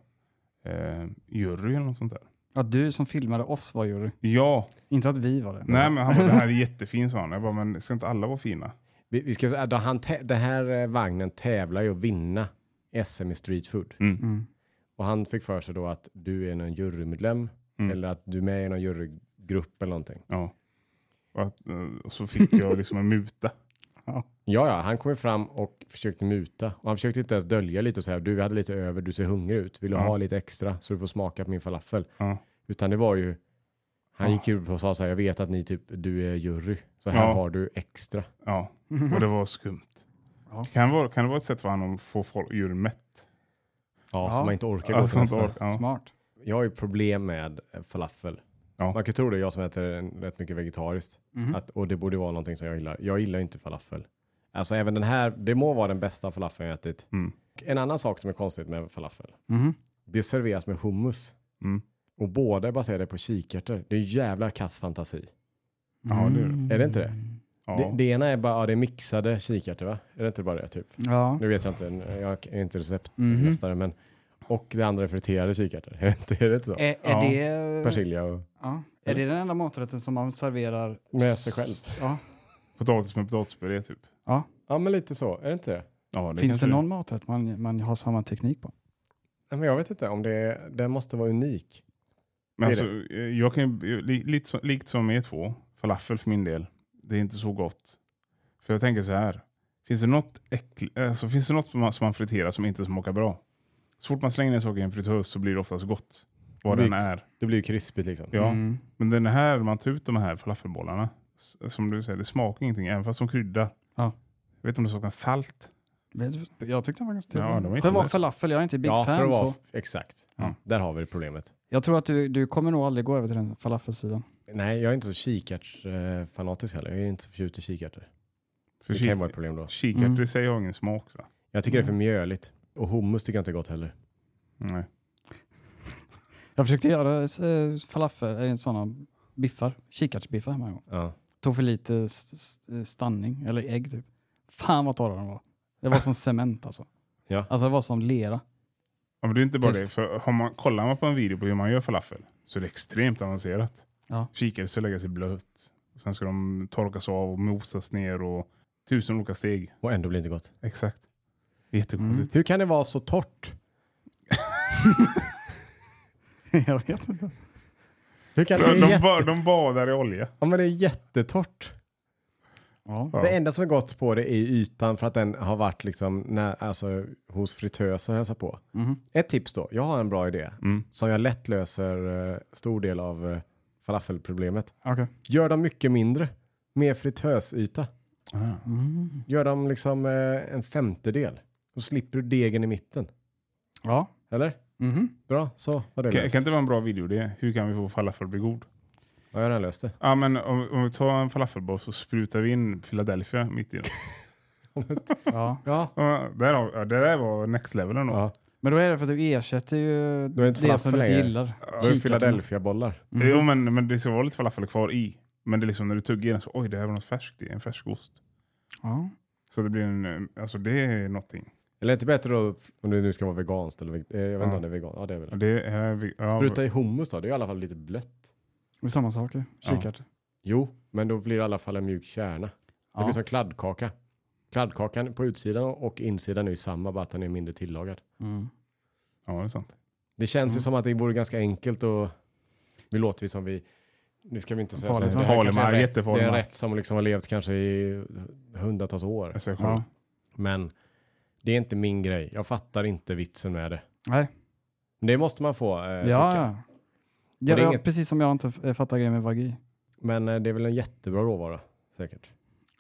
eh, jury eller något sånt där.
Ja, du som filmade oss var jury.
Ja,
Inte att vi var det.
nej men han bara, den här är jättefin sa han. Jag bara, men ska inte alla vara fina?
Vi, vi ska, säga, då han tä- den här eh, vagnen tävlar ju att vinna SM i street food.
Mm.
Och han fick för sig då att du är någon jurymedlem
Mm.
eller att du är med i någon jurygrupp eller någonting.
Ja. Och, att, eh, och så fick jag liksom en muta.
Ja, ja, han kom ju fram och försökte muta. Och han försökte inte ens dölja lite och säga du hade lite över, du ser hungrig ut. Vill du
Ja.
ha lite extra så du får smaka på min falafel?
Ja.
Utan det var ju, han
Ja.
gick ju upp och sa så här, jag vet att ni typ, du är jury. Så här
Ja.
har du extra.
Ja, och det var skumt. Kan, vara, kan det vara ett sätt för honom att få folk djur mätt?
Ja,
Ja.
som man inte orkar
Ja,
gå till
sånt
nästa.
ork, ja.
Smart.
Jag har ju problem med eh, falafel.
Ja. Mhm.
Man kan tro det, jag som äter en- rätt mycket vegetariskt. Att, och det borde vara någonting som jag gillar. Jag gillar ju inte falafel. Alltså även den här, det må vara den bästa falafeln jag ätit.
Mm.
En annan sak som är konstigt med falafel.
Mhm.
Det serveras med hummus.
Mm.
Och båda är baserade på kikärtor. Det är en jävla kass fantasi.
Ja, det är
Mm.
det.
Är det inte det?
Ja.
det? Det ena är bara, ja, det är mixade kikärtor va? Är det inte bara det typ?
Mm.
Ja.
Nu vet jag inte, jag är inte receptmästare
Mhm.
men. Och det andra är friterade kikärtor. Är det inte, är det inte så?
Är,
Ja.
är, det,
Persilja och...
ja. är det den enda maträtten som man serverar
Med sig själv.
s- Ja.
Potatis med potatispuré typ.
Ja men lite så, är det inte det?
Ja, det
Finns
kanske
det någon maträtt man, man har samma teknik på?
Nej, men jag vet inte om det är, den måste vara unik.
Men
är
alltså, eh, jag kan ju, li, lite, så- likt som er två, falafel för min del, det är inte så gott. För jag tänker så här, finns det något, äckl, alltså, finns det något som man, som man friterar som inte smakar bra? Så fort man slänger ner saker i en fritös så blir det oftast gott. Vad
Det
den
blir-
är.
Det blir ju krispigt liksom.
Ja.
Mm.
Men den här, man tar ut de här falafelbollarna, s- som du säger, det smakar ingenting, även fast de kryddar.
Ja.
Jag vet inte om det saknar salt.
Vet du, Jag tyckte den var ganska
Ja, de är
trevlig.
inte
För att vara
lätt.
falafel, jag är inte big
ja,
fan.
för att vara,
så.
exakt. Mm.
Ja.
Där har vi det problemet.
Jag tror att du, du kommer nog aldrig gå över till den falafelsidan.
Nej, jag är inte så kikärtsfanatisk heller. Jag är inte så förtjust i kikärtor.
För
Det kan ju vara
kik-
ett problem då.
kikärtor
Mm.
i sig har ingen smak va?
Jag tycker det är för mjöligt. Och hummus tycker jag inte är gott heller.
Nej.
Jag försökte göra eh, falafel, eller sådana biffar, kikärtsbiffar hemma en gång.
Ja.
Tog för lite s- s- stanning, eller ägg typ. Fan vad torra de var. Det var som cement alltså.
Ja.
Alltså det var som lera.
Ja, men det är inte bara
Test.
det. För har man, kollar man på en video på hur man gör falafel så är det extremt avancerat.
Ja.
Kikärtor ska läggas i blött. Och sen ska de torkas av och mosas ner och tusen olika steg.
Och ändå blir det inte gott.
Exakt. Det är
Mm.
Jättekonstigt.
Hur kan det vara så torrt?
jag vet inte.
Hur kan det
De,
vara jätte...
ba, de badar i olja.
ja, men det är jättetort.
Ja.
Ja.
Det enda som är gott på det är ytan för att den har varit liksom när, alltså, hos fritöser hälsar på. Ett tips då. Jag har en bra idé som jag lätt löser eh, stor del av eh, falafelproblemet.
Okej.
Gör dem mycket mindre. Mer fritösyta.
Ah.
Gör dem liksom eh, en femtedel. Då slipper du degen i mitten.
Ja.
Eller?
Mhm.
Bra, så var det
Kan,
löst.
kan inte vara en bra video det? Hur kan vi få falafel att bli god?
Ja, jag har redan löst det.
Ja, men om, om vi tar en falafelboll så sprutar vi in Philadelphia mitt i den.
ja.
Ja.
Ja, där har, ja, det där var next level ändå.
ja.
Men då är det för att du ersätter ju
Då är det inte
det som du
falafel
inte
längre.
gillar.
Då är det
Kikärtorna.
Philadelphia-bollar.
Jo,
Mm.
men, men det ska vara lite falafel kvar i. Men det är liksom när du tuggar i den så oj, det här var något färskt i. En färsk ost.
Ja.
Så det blir en, eh, alltså det är någonting.
Eller inte bättre då, om det nu ska vara veganskt eller veg- eh, jag vet inte
Ja.
om det är veganskt. Ja, det är väl
Ja,
det.
Det är, vi- ja,
Spruta i hummus då, det är i alla fall lite blött.
Det är samma sak ju. Kikärtor.
Jo, men då blir det i alla fall en mjuk kärna. Det
Ja.
blir som kladdkaka. Kladdkakan på utsidan och insidan är ju samma, bara att den är mindre tillagad.
Mm.
ja, det är sant.
Det känns ju som att det vore ganska enkelt och vi låter vi som vi... Nu ska vi inte säga
Farligt,
så
va?
här. Det här
Farlig
kanske är
mark,
en rätt-
jättefarlig
Det är en
mark.
rätt som liksom har levt kanske i hundratals år.
Jag ska kolla.
Ja.
Men det är inte min grej. Jag fattar inte vitsen med det.
Nej.
Men det måste man få, eh,
Ja,
tycker jag.
ja. Ja,
det är
ja,
inget-
precis som jag inte eh, fattar grejen med vagi.
Men eh, det är väl en jättebra råvara, säkert.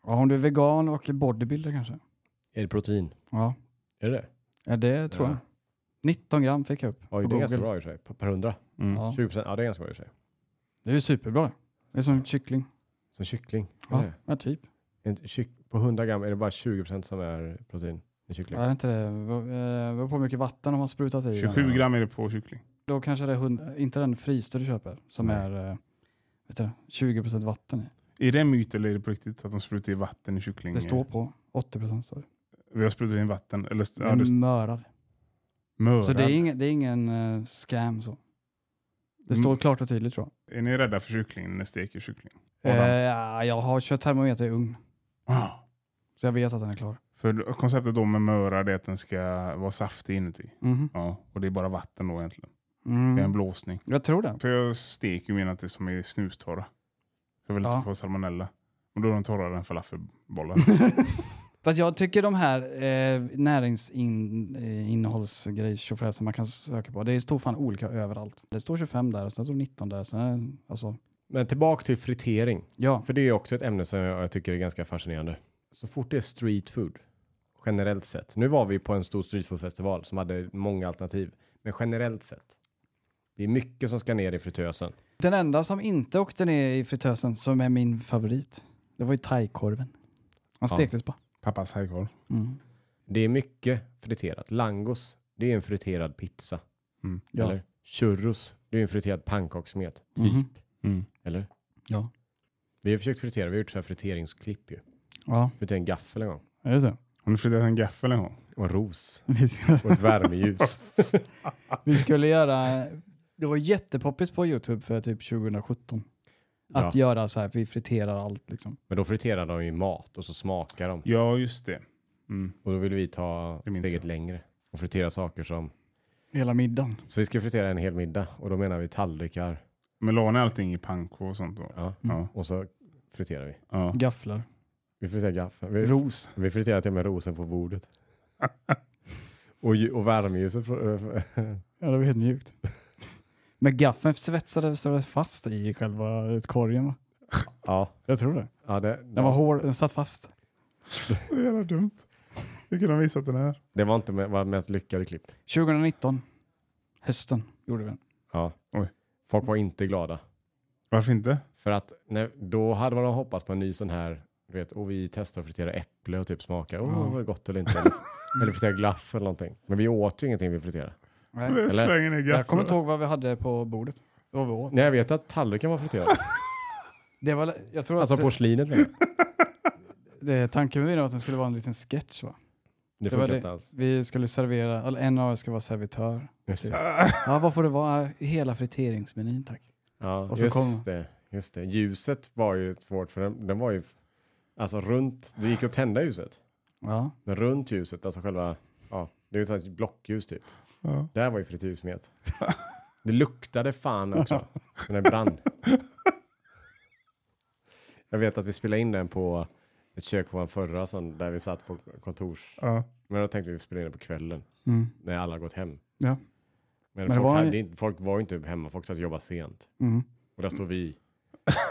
Ja, om du är vegan och bodybuilder kanske.
Är det protein?
Ja,
Är det det?
ja det tror
Ja.
jag. 19 gram fick jag upp. på
Oj, det är ganska
Google.
bra i och för sig. Per- Per hundra?
Mm.
Ja.
20 procent? Ja, det är ganska bra i och för sig.
Det är ju superbra. Det är som kyckling.
Som kyckling? Är
Ja,
det?
ja typ.
En kyck- på 100 gram är det bara 20 procent som är protein i kyckling?
Ja, det är inte det. Det beror på hur mycket vatten de har sprutat i. den.
27 gram är det på kyckling.
Då kanske det är hund, inte den frysta du köper som
Nej.
är eh, vet du, 20% vatten i.
Är det en myt eller är det på riktigt att de sprutar i vatten i kyckling?
Det står på 80% står det.
Vi har sprutat in vatten. Eller, st-
Det
ja, det
är
st-
mörar.
mörar.
Så det är ingen, det är ingen eh, scam så. Det står
Mm.
klart och tydligt tror jag.
Är ni rädda för kyckling när ni steker kyckling?
Eh,
Adam?
ja, jag har kört termometer i ugn,
Ah.
så jag vet att den är klar.
För konceptet då med möra det är att den ska vara saftig inuti.
Mm-hmm.
Ja, och det är bara vatten då egentligen. Det är en
Mm.
blåsning.
Jag tror det.
För jag steker ju mina till som är snustorra. Jag vill
Ja.
inte få salmonella. Men då är de torrare än falafelbollar.
Fast jag tycker de här eh, näringsinnehållsgrejs som man kan söka på, det står fan olika överallt. Det står 25 där, och sen står 19 där, och sen är det- alltså,
Men tillbaka till fritering.
ja.
För det är också ett ämne som jag jag tycker är ganska fascinerande. Så fort det är street food, generellt sett. Nu var vi på en stor street food festival som hade många alternativ. Men generellt sett. Det är mycket som ska ner i fritösen.
Den enda som inte åkte ner i fritösen, som är min favorit, det var ju thaikorven. Han stektes bara.
Pappas hajkorv.
Mm.
Det är mycket friterat. Langos, det är en friterad pizza.
Mm.
Ja.
Eller churros, det är en friterad pannkakssmet. Typ.
Mhm.
Mm.
Eller?
Ja.
Vi har försökt fritera, vi har gjort så här friteringsklipp ju.
Ja,
Friterat en gaffel en gång.
är det så?
Har ni flyttat en gaffel en gång?
Och en ros.
Vi ska-
Och ett värmeljus.
Vi skulle göra, det var jättepoppis på YouTube för typ 2017. Att
Ja.
göra så här, för vi friterar allt liksom.
Men då friterar de ju mat och så smakar de.
Ja, just det. Mm.
Och då vill vi ta
Det minns
steget
jag.
längre och fritera saker som...
Hela middagen.
Så vi ska fritera en hel middag och då menar vi tallrikar
Men la ni allting i panko och sånt då?
Mm.
Ja.
Ja.
och så friterar vi.
ja.
Gafflar.
Vi friterar gaffeln. Vi,
Ros.
vi friterar till och med rosen på bordet. och, ju- och värmeljuset. från- eh,
Ja, det var helt mjukt. Men gaffeln svetsades väl fast i själva korgen va?
ja.
Jag tror det.
ja det,
Den var hård, den satt fast.
Det är jävla dumt. Hur kunde de visa den här?
det var inte med, var mest lyckade klipp.
2019. Hösten gjorde vi den.
Ja.
Oj.
Folk var inte glada.
Varför inte?
För att när, då hade man hoppats på en ny sån här Du vet, och vi testar att fritera äpple och typ smaka. Åh, var det gott eller inte? Eller, eller fritera glass eller någonting. Men vi åt ju ingenting vi friterade.
Nej.
Slänger ner
Jag kommer
gaffeln.
inte ihåg vad vi hade på bordet. Vad vi åt.
Nej, jag vet att tallriken var friterad.
Det var, jag tror
Alltså
att
porslinet menar jag.
det, tanken med det var att den skulle vara en liten sketch va?
Det
Det var
funkar
det.
inte alls.
Vi skulle servera, eller en av er skulle vara servitör. typ.
Just det.
Ja, vad får det vara? Hela friteringsmenyn tack.
Ja,
Och så
just,
kom-
det, just det. Ljuset var ju svårt för den, den var ju alltså runt, det gick att tända ljuset.
Ja,
Men runt ljuset, alltså själva, ja, det är ju ett sånt här blockljus typ.
Ja.
Där var ju frityrsmet. Det luktade fan också. Men den brann. Jag vet att vi spelade in den på ett kök på en förra sån, där vi satt på kontors.
Ja.
Men då tänkte vi spela in den på kvällen.
Mm.
När alla gått hem.
Ja.
Men,
det
folk,
var-
hade, inte- folk var ju inte hemma, folk satt och jobbade sent.
Mm.
Och där står vi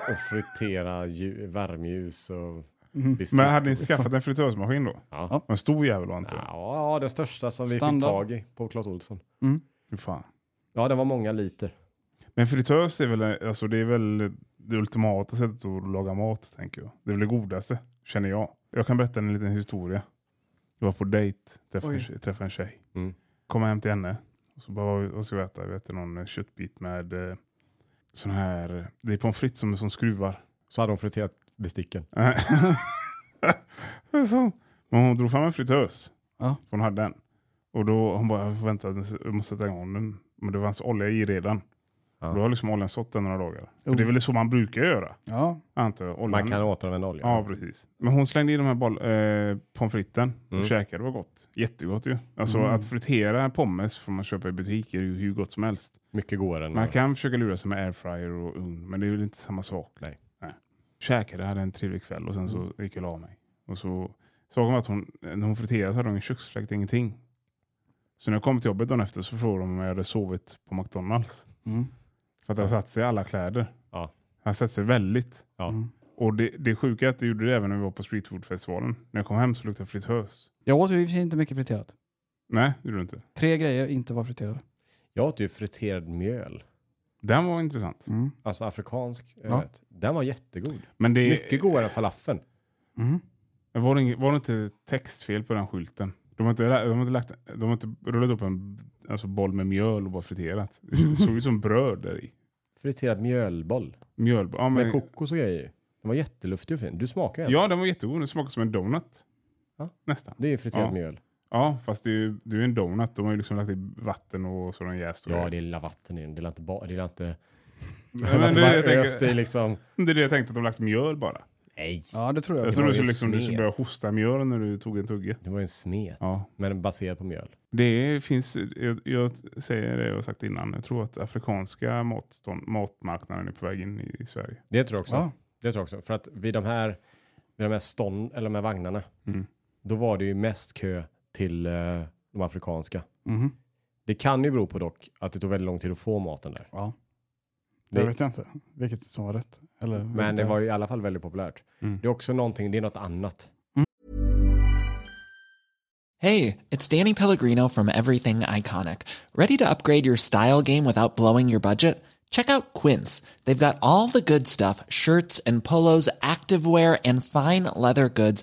och friterar lju- värmeljus och bestick.
Men hade ni skaffat en fritösmaskin då?
Ja.
En stor jävel var inte det?
ja, den största som vi fick
Standard.
tag i på Clas Ohlson.
Fy fan.
Ja, den var många liter.
Men fritös är väl, alltså det är väl det ultimata sättet att laga mat, tänker jag. Det är väl det godaste, känner jag. Jag kan berätta en liten historia. Jag var på dejt, träffade, en tjej- träffade en tjej.
Mm.
Kom hem till henne. Och så bara, "Vad- vad ska vi äta? Vi äter någon köttbit med eh, sån här, det är pommes frites som, som skruvar.
Så hade hon friterat besticken.
Nej. Det är så. Men hon drog fram en fritös.
Ja.
Hon hade den. Och då hon bara, "Jag får vänta, jag måste sätta igång den. Men det fanns olja i redan.
Ja.
Då har liksom oljan stått där några dagar.
Oh.
För det är väl så man brukar göra,
ja.
antar jag. Oljan.
Man kan återanvända olja.
Ja, precis. Men hon slängde i de här boll, eh, pommes fritesen
Mm.
och käkade, det var gott. Jättegott ju. Alltså
Mm.
att fritera pommes från man köper i butiker är ju hur gott som helst.
Mycket godare än
Man kan försöka lura sig med airfryer och ugn, men det är väl inte samma sak.
Nej. Mm.
Käkade, hade en trevlig kväll och sen så gick jag och la mig. Och så såg hon att hon, när hon friterade så hade hon en köksfläkt, ingenting. Så när jag kom till jobbet dagen efter så frågade de om jag hade sovit på McDonalds.
Mm.
För att jag satt sig i alla kläder.
Ja.
Jag satt sig väldigt.
Ja.
Mm.
Och det, det sjuka är att det gjorde det även när vi var på streetfoodfestivalen. När jag kom hem så luktade det fritös.
Jag åt ju i och för sig inte mycket friterat.
Nej, det gjorde det inte.
Tre grejer inte var friterade.
Jag åt ju friterad mjöl.
Den var intressant.
Mm.
Alltså afrikansk
Ja.
rätt. Den var jättegod.
Men det,
Mycket godare än falafeln.
Mm.
Var det, ing- var det inte textfel på den skylten? De har inte, la- de har inte, lagt, de har inte rullat upp en alltså, boll med mjöl och bara friterat. Det såg ut som bröd där i.
Friterad mjölboll.
Mjöl. Ja,
Med
men,
kokos och grejer i. Den var jätteluftig och fin. Du smakar ju den.
ja, den var jättegod. Den smakade som en donut.
Ja.
Nästan.
Det är ju friterad
Ja.
mjöl.
Ja, fast det är ju det är ju en donut. De har ju liksom lagt i vatten och så har den jäst. och
Ja,
grejer.
det är lilla vatten i den. Det är inte... Ba- det är inte...
Men det, är det, jag
bara öst i
tänker,
liksom...
det är det jag tänkte, att de har lagt mjöl bara.
Nej.
Ja, det tror jag.
Jag tror
var
du skulle
ju
liksom, du skulle
smet.
börja hosta mjöl när du tog en tugga.
Det var ju en smet.
Ja.
Men baserad på mjöl.
Det finns, jag, jag säger det jag har sagt innan, jag tror att afrikanska matstånd, matmarknaden är på väg in i Sverige.
Det tror jag också.
Ja.
Det tror jag också. För att vid de här, vid de här stånd, eller de här vagnarna,
Mm.
då var det ju mest kö till eh, de afrikanska.
Mm-hmm.
Mhm.
Det kan ju bero på dock att det tog väldigt lång tid att få maten där.
Ja.
Det-
Det vet jag inte vilket som var rätt. Eller
Men
vilket
det
jag-
var ju i alla fall väldigt populärt.
Mm.
Det är också någonting, det är något annat.
Hey, it's Danny Pellegrino from Everything Iconic. Ready to upgrade your style game without blowing your budget? Check out Quince. They've got all the good stuff shirts and polos, activewear, and fine leather goods,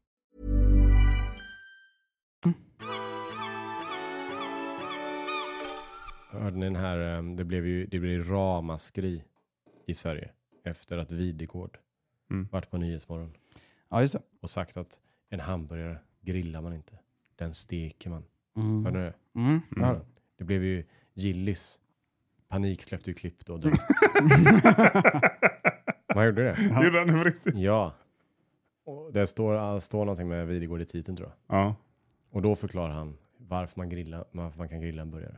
Hörde ni den här, eh, det blev ju det blev ramaskri i Sverige efter att Videgård
Mm.
vart på Nyhetsmorgon
Ja, just det.
och sagt att en hamburgare grillar man inte. Den steker man.
Mm.
Hörde ni det?
Mm. Ja.
Det blev ju Gillis panik släppte ju klipp då direkt. Man gjorde det?
Gjorde han det på riktigt?
Ja. Och det står, står någonting med Videgård i titeln tror jag.
Ja,
Och då förklarar han varför man, grillar, varför man kan grilla en burgare.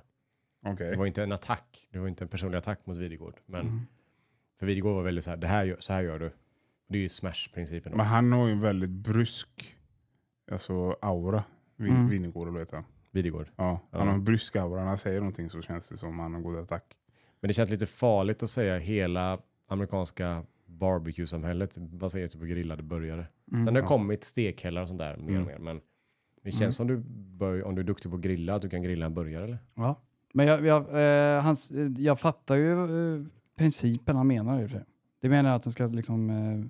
okej.
Det var inte en attack, det var inte en personlig attack mot Videgård. Men för Videgård var väldigt så här, det här gör, så här gör du. Det är ju smash-principen. då.
Men han har ju en väldigt brysk alltså, aura, Vin-
Mm.
Winnergård eller vad heter han?
Videgård.
Ja,
Ja.
han har en brysk aura. När han säger någonting så känns det som han har gått i attack.
Men det känns lite farligt att säga hela amerikanska barbecue-samhället baserat typ på grillade burgare. Sen har det kommit stekhällar och sånt där mer och mer. Men det känns som du, bör, om du är duktig på att grilla, att du kan grilla en burgare eller?
Ja. Men jag, jag, eh, hans, eh, jag fattar ju eh, principen han menar. i och för sig. Det menar jag att den ska liksom eh,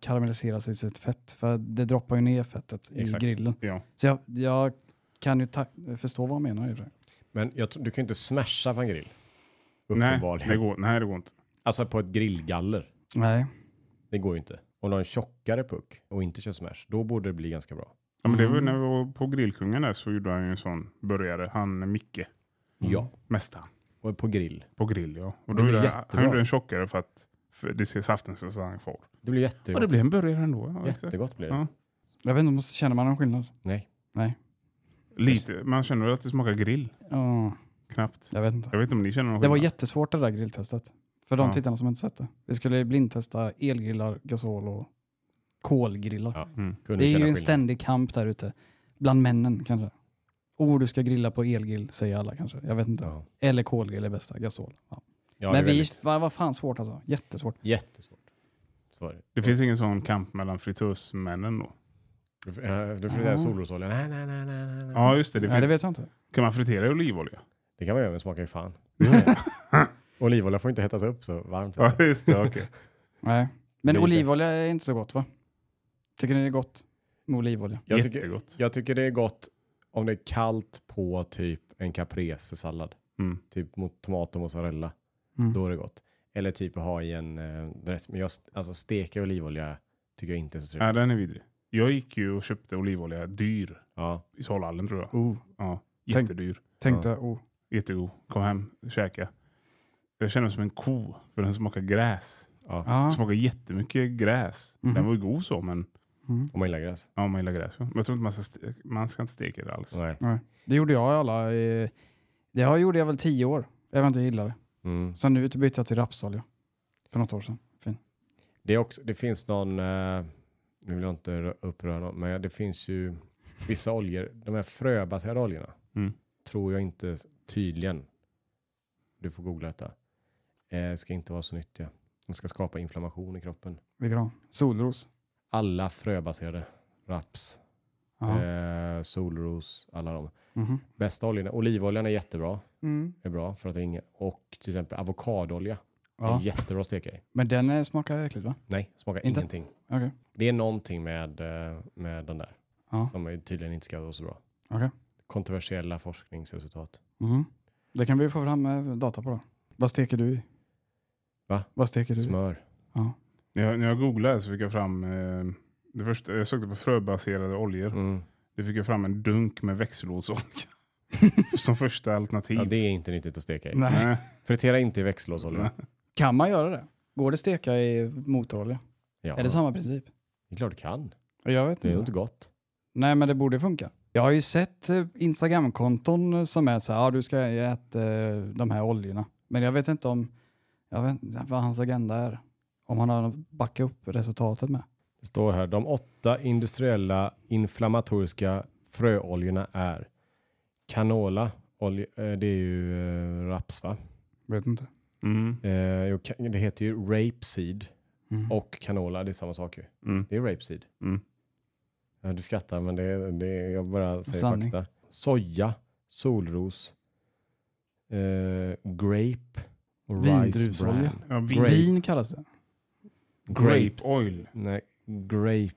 karamelliseras i sitt fett, för det droppar ju ner fettet
Exakt.
i grillen.
Ja.
Så jag, jag kan ju ta- förstå vad han menar. i och för sig.
Men jag, tror- du kan ju inte smasha på en grill.
Nej,
Uppenbarligen.
det går, nej, det går inte.
Alltså på ett grillgaller.
Nej.
Det går ju inte. Om du har en tjockare puck och inte kör smash, då borde det bli ganska bra.
Ja, men det var, ju när vi var på Grillkungen där så gjorde han ju en sån burgare. Han Micke,
Ja.
mästaren.
Och på grill.
På grill ja. Och
Det
då
blir
gjorde han,
jättebra.
han gjorde en tjockare för att för det ser saften så stannar kvar.
Det blir jättegott.
Ja, det blir en burgare ändå. Ja, exakt.
Jättegott blir det.
Ja.
Jag vet inte, om- känner man någon skillnad?
Nej.
Nej.
Lite, man känner att det smakar grill.
Ja,
Knappt.
jag vet inte.
Jag vet inte om ni känner någon
Det var
skillnad.
jättesvårt det där grilltestet. För de
Ja.
tittarna som inte sett det. Vi skulle blindtesta elgrillar, gasol och kolgrillar.
Ja.
Mm.
Kunde känna
Det är ju en
skillnad.
ständig kamp där ute. Bland männen kanske. Oh, du ska grilla på elgrill, säger alla kanske. Jag vet inte.
Ja.
Eller kolgrill är bästa, gasol. Ja.
Ja, det är
Men vi,
väldigt-
vad var fan svårt alltså. Jättesvårt.
Jättesvårt. Så var det.
Det finns ingen sån kamp mellan fritösmännen då?
Du får- eh, du får göra solrosolja. Nej, nej, nej, nej, nej, nej.
Ja, just det. det,
Nej,
fin-
det vet jag inte.
Kan man fritera i olivolja?
Det kan man göra, men det smakar ju fan. Olivolja får inte hettas upp så varmt.
Ja, just det. Okej.
Nej. Men
Det är
olivolja är inte så gott va? Tycker ni det är gott med olivolja?
Jag tycker,
Jättegott.
jag tycker det är gott om det är kallt på typ en caprese-sallad.
Mm.
Typ mot tomat och mozzarella.
Mm.
Då är det gott. Eller typ att ha i en eh, dress. Men jag, alltså steka i olivolja tycker jag inte är så trevligt.
Ja, den är vidrig. Jag gick ju och köpte olivolja dyr
Ja.
i Salhallen tror jag.
Oh,
Ja,
Tänk-
jättedyr.
tänkte jag. Oh.
Jättegod. Kom hem, käka. Jag kände mig som en ko, för den smakar gräs.
ja.
Den
Ja.
smakar jättemycket gräs. Den var ju god så, men
Mm.
Om man gillar gräs.
ja, man gillar gräs. ja. Men jag tror inte man ska, ste- man ska inte steka det alls.
Nej.
Nej. Det gjorde jag i alla... eh, Det här gjorde jag väl tio år. Jag vet inte, jag gillade det.
Mm.
Sen nu bytte jag till rapsolja. För något år sedan. Fin.
Det, är också, det finns någon, eh, nu vill jag inte rö- uppröra någon, men det finns ju vissa oljor, de här fröbaserade oljorna,
Mm.
tror jag inte tydligen, du får googla detta, eh, ska inte vara så nyttiga. De ska skapa inflammation i kroppen.
Vilka då? Solros.
Alla fröbaserade, raps,
Ja.
eh, solros, alla de.
Mhm.
Bästa oljorna, olivoljan är jättebra,
Mm.
är bra för att det är inga, och till exempel avokadolja,
Ja.
är jättebra att steka i.
Men den eh, smakar äckligt va?
Nej, smakar
Inte?
ingenting.
Okej.
Det är någonting med, eh, med den där.
Ja.
som är tydligen inte ska vara så bra.
Okej.
Kontroversiella forskningsresultat.
Mhm. Det kan vi få fram eh, data på då. Vad steker du i?
Va?
Vad steker du i?
Smör.
När jag, när jag googlade så fick jag fram, eh, det första, jag sökte på fröbaserade oljor.
Mm.
Då fick jag fram en dunk med växellådsolja. som första alternativ.
Ja, det är inte nyttigt att steka i.
Nej.
Nej.
Fritera inte i växellådsolja.
Kan man göra det? Går det steka i motorolja?
Ja.
Är det samma princip?
Det är klart du kan.
Jag vet
Det är
inte.
inte gott.
Nej men det borde funka. Jag har ju sett eh, Instagram-konton som är så här, ah, du ska äta eh, de här oljorna. Men jag vet inte om, jag vet inte vad hans agenda är. Om han har något att backa upp resultatet med.
Det står här, de åtta industriella inflammatoriska fröoljorna är canola, olja, eh, det är ju eh, raps va?
Vet inte.
Mm.
Eh, jo, ka- det heter ju rapeseed
Mm.
och canola, det är samma sak ju.
Mm.
Det är rapeseed.
Mm.
Ja, du skrattar, men det, det, jag bara säger
Sanning.
fakta. Soja, solros, eh, grape och rice
Vindruvsolja.
bran.
Ja, vi-
Grape.
Vin kallas det.
Grape oil.
Nej, grape,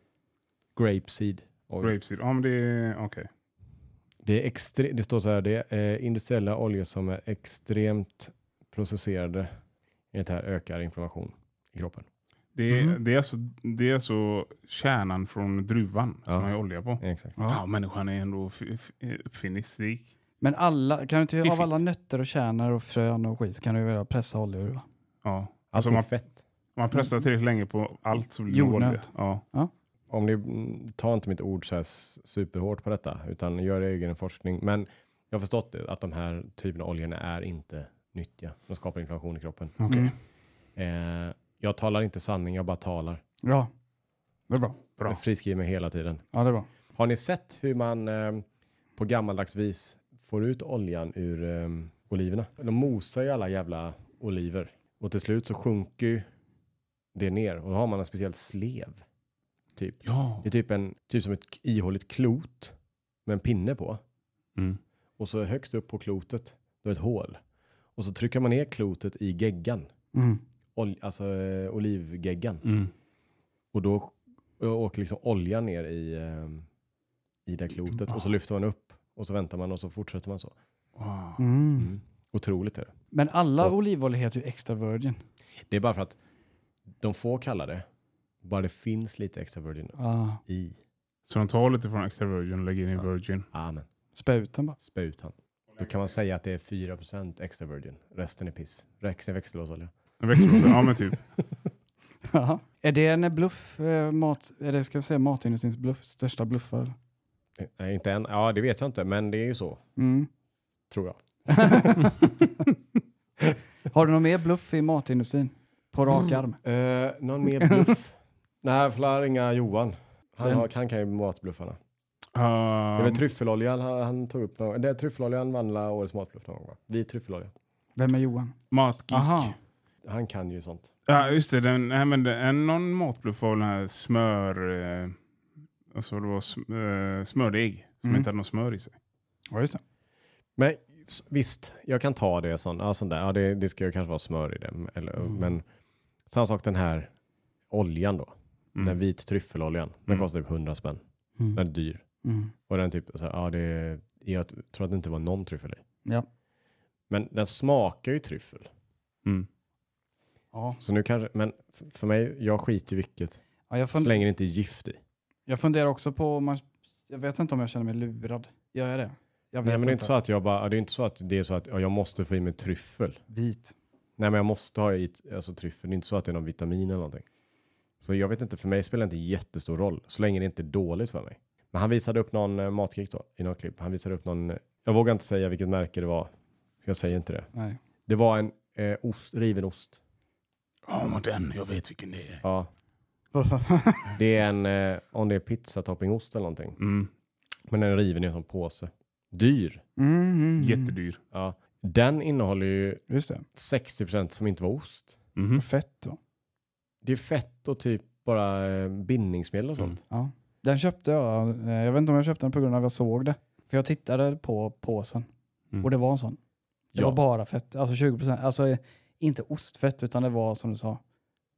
grape seed oil.
Rapeseed. Ja, men det är okej.
Det, är extre, det står så här, det är eh, industriella oljor som är extremt processerade. Enligt det här ökar inflammation i kroppen.
Det, är-
Mhm.
det, är alltså, det är alltså kärnan från druvan
Ja.
som man har olja på.
Exakt.
Fan, människan är ändå f- f- uppfinningsrik.
Men alla, kan du inte, av
Fiffigt.
alla nötter och kärnor och frön och skit så kan du väl pressa oljor? va?
Ja.
Alltså
Alltså man,
fett.
om man
Mm.
pressar tillräckligt länge på allt så blir det
Jordnöt.
olja. Ja.
Om ni, mm, ta inte mitt ord så här s- superhårt på detta, utan gör egen forskning. Men jag har förstått det, att de här typerna av oljorna är inte nyttiga. De skapar inflammation i kroppen.
Okej.
Mm.
Eh, jag talar inte sanning, jag bara talar.
Ja, det är bra.
Bra.
Jag friskriver mig hela tiden.
Ja, det är bra.
Har ni sett hur man eh, på gammaldags vis får ut oljan ur eh, oliverna? De mosar ju alla jävla oliver och till slut så sjunker ju det ner och då har man en speciell slev. Typ.
Ja.
Det är typ, en, typ som ett ihåligt klot med en pinne på.
Mm.
Och så högst upp på klotet, då är ett hål. Och så trycker man ner klotet i geggan,
Mm.
ol, alltså eh, olivgeggan.
Mm.
Och då sk- åker liksom olja ner i, eh, i det klotet och så lyfter man upp och så väntar man och så fortsätter man så.
Wow.
Mm.
Otroligt är det.
Men alla olivoljor heter ju extra virgin.
Det är bara för att de får kalla det, bara det finns lite extra virgin
Ah,
i.
Så de tar lite från extra virgin och lägger in i virgin.
Amen.
spä ut den bara.
Spä ut han. Då kan man säga att det är 4% extra virgin. Resten är piss. Resten är växellåsolja.
En växtbrodd. ja men typ.
Jaha. Är det en bluff, eh, mat, är det, ska vi säga matindustrins bluff, största bluffar?
Eh, Nej, inte än. Ja, det vet jag inte, men det är ju så,
Mm.
tror jag.
Har du någon mer bluff i matindustrin? På rak arm?
Eh, någon mer bluff? Nej, får ringa Johan. Han,
Vem?
har, han kan ju matbluffarna. Det var
Uh,
tryffeloljan han, han tog upp. Någon, det är tryffeloljan vann årets matbluff någon gång, va? Vi tryffelolja.
Vem är Johan?
Matgeek.
Aha.
Han kan ju sånt.
Ja, just det. Den, nej, men det, en, någon matbluff var den här smör... Eh, alltså det var sm, eh, smördeg som
Mm.
inte hade något smör i sig.
Ja, just det.
Men s- visst, jag kan ta det sån, ja, sån där. Ja, det, det ska ju kanske vara smör i det. m- Eller, Men samma sak den här oljan då.
Mm.
Den vit tryffeloljan. Den
Mm.
kostar typ 100 spänn. Den är dyr.
Mm.
Och den typ, så här, ja, det, jag t- tror att det inte var någon tryffel i.
Ja.
Men den smakar ju tryffel.
Mm.
Ja.
Så nu kanske, men f- för mig, jag skiter i vilket.
Ja, jag,
Så
fund,
länge det inte är gift i.
jag funderar också på, om man, jag vet inte om jag känner mig lurad. Gör jag det? Jag vet
Nej, men det är
inte.
inte så att jag bara, det är inte så att det är så att ja, jag måste få i mig tryffel.
Vit.
Nej, men jag måste ha i alltså, tryffel. Det är inte så att det är någon vitamin eller någonting. Så jag vet inte, för mig spelar det inte jättestor roll. Så länge det inte är dåligt för mig. Men han visade upp någon eh, matkick då, i något klipp. Han visade upp någon, eh, jag vågar inte säga vilket märke det var. Jag säger inte det.
Nej.
Det var en eh, ost, riven ost.
Ja, men den. Jag vet vilken det är.
Ja,
Mm,
det är en, eh, om det är pizzatoppingost eller någonting.
Mm.
Men den är riven i en sån påse. Dyr.
Mm, mm, mm.
Jättedyr.
Ja. Den innehåller ju
Just det.
60% som inte var ost.
Mhm.
Fett då.
Det är fett och typ bara eh, bindningsmedel och sånt.
Ja. Den köpte jag, eh, jag vet inte om jag köpte den på grund av att jag såg det. För jag tittade på påsen
Mm.
och det var en sån. Det
Ja.
var bara fett, alltså 20%, alltså eh, inte ostfett utan det var som du sa,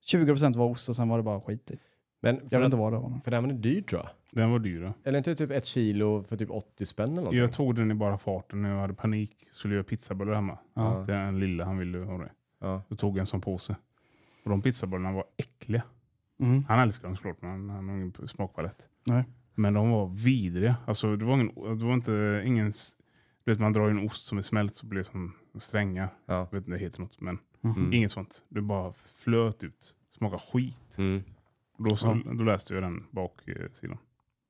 20% var ost och sen var det bara skit i.
Men
Jag
för,
vet
att,
inte vad det var.
för den var dyr tror jag.
Den var dyr. ja.
Eller inte typ ett kilo för typ 80 spänn eller någonting.
Jag tog den i bara farten när jag hade panik. Skulle göra pizzabullar hemma.
Ja.
Den lilla han ville ha det.
Ja.
Då tog jag en sån påse. Och de pizzabullarna var äckliga.
Mm.
Han älskar dem såklart, men han- han har ingen smakpalett.
Nej.
Men de var vidriga. Alltså, det var, ingen, det var inte ingen... s- Du vet, man drar ju en ost som är smält så blir det som strängar.
Ja.
Jag vet inte, det heter något, men Mm.
Mhm.
inget sånt. Det bara flöt ut. Smakar skit.
Mm.
Och Då, så,
Ja.
då läste jag den baksidan.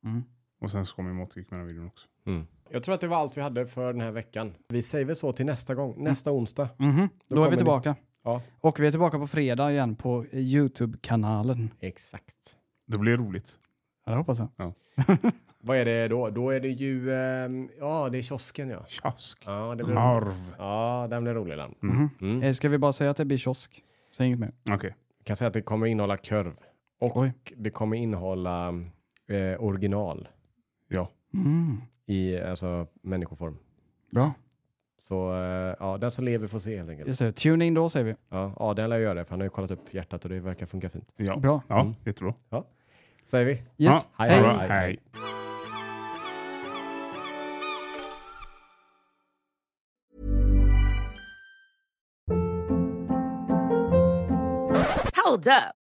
Mm.
Och sen så kom ju matkick med den videon också.
Mm. Jag tror att det var allt vi hade för den här veckan. Vi säger väl så till nästa gång, nästa onsdag.
Mhm. Då, är
kommer
vi tillbaka.
Ja.
Och vi är tillbaka på fredag igen på eh, YouTube-kanalen.
Exakt.
Det blev roligt.
Ja, det hoppas jag.
Vad är det då? Då är det ju, ehm, ja det är kiosken ja.
Tjask.
Ja, det blir
Narv.
Ja, den blir rolig den.
Mhm.
Mm.
Eh, Ska vi bara säga att det blir kiosk? Säg inget mer.
Okej.
kan säga att det kommer innehålla kurv. Och
Oj.
det kommer innehålla eh, original
Ja.
Mm.
i alltså, människoform.
Bra.
Så eh, ja, den som lever får se helt enkelt.
Just det. Tune in då säger vi.
Ja, Adrian lär göra det för han har ju kollat upp hjärtat och det verkar funka fint.
Ja.
Bra.
Ja,
Mm.
jättebra.
Säger vi.
Yes.
Ja, hej.
Hej.
Bra, Hej.
Hold up.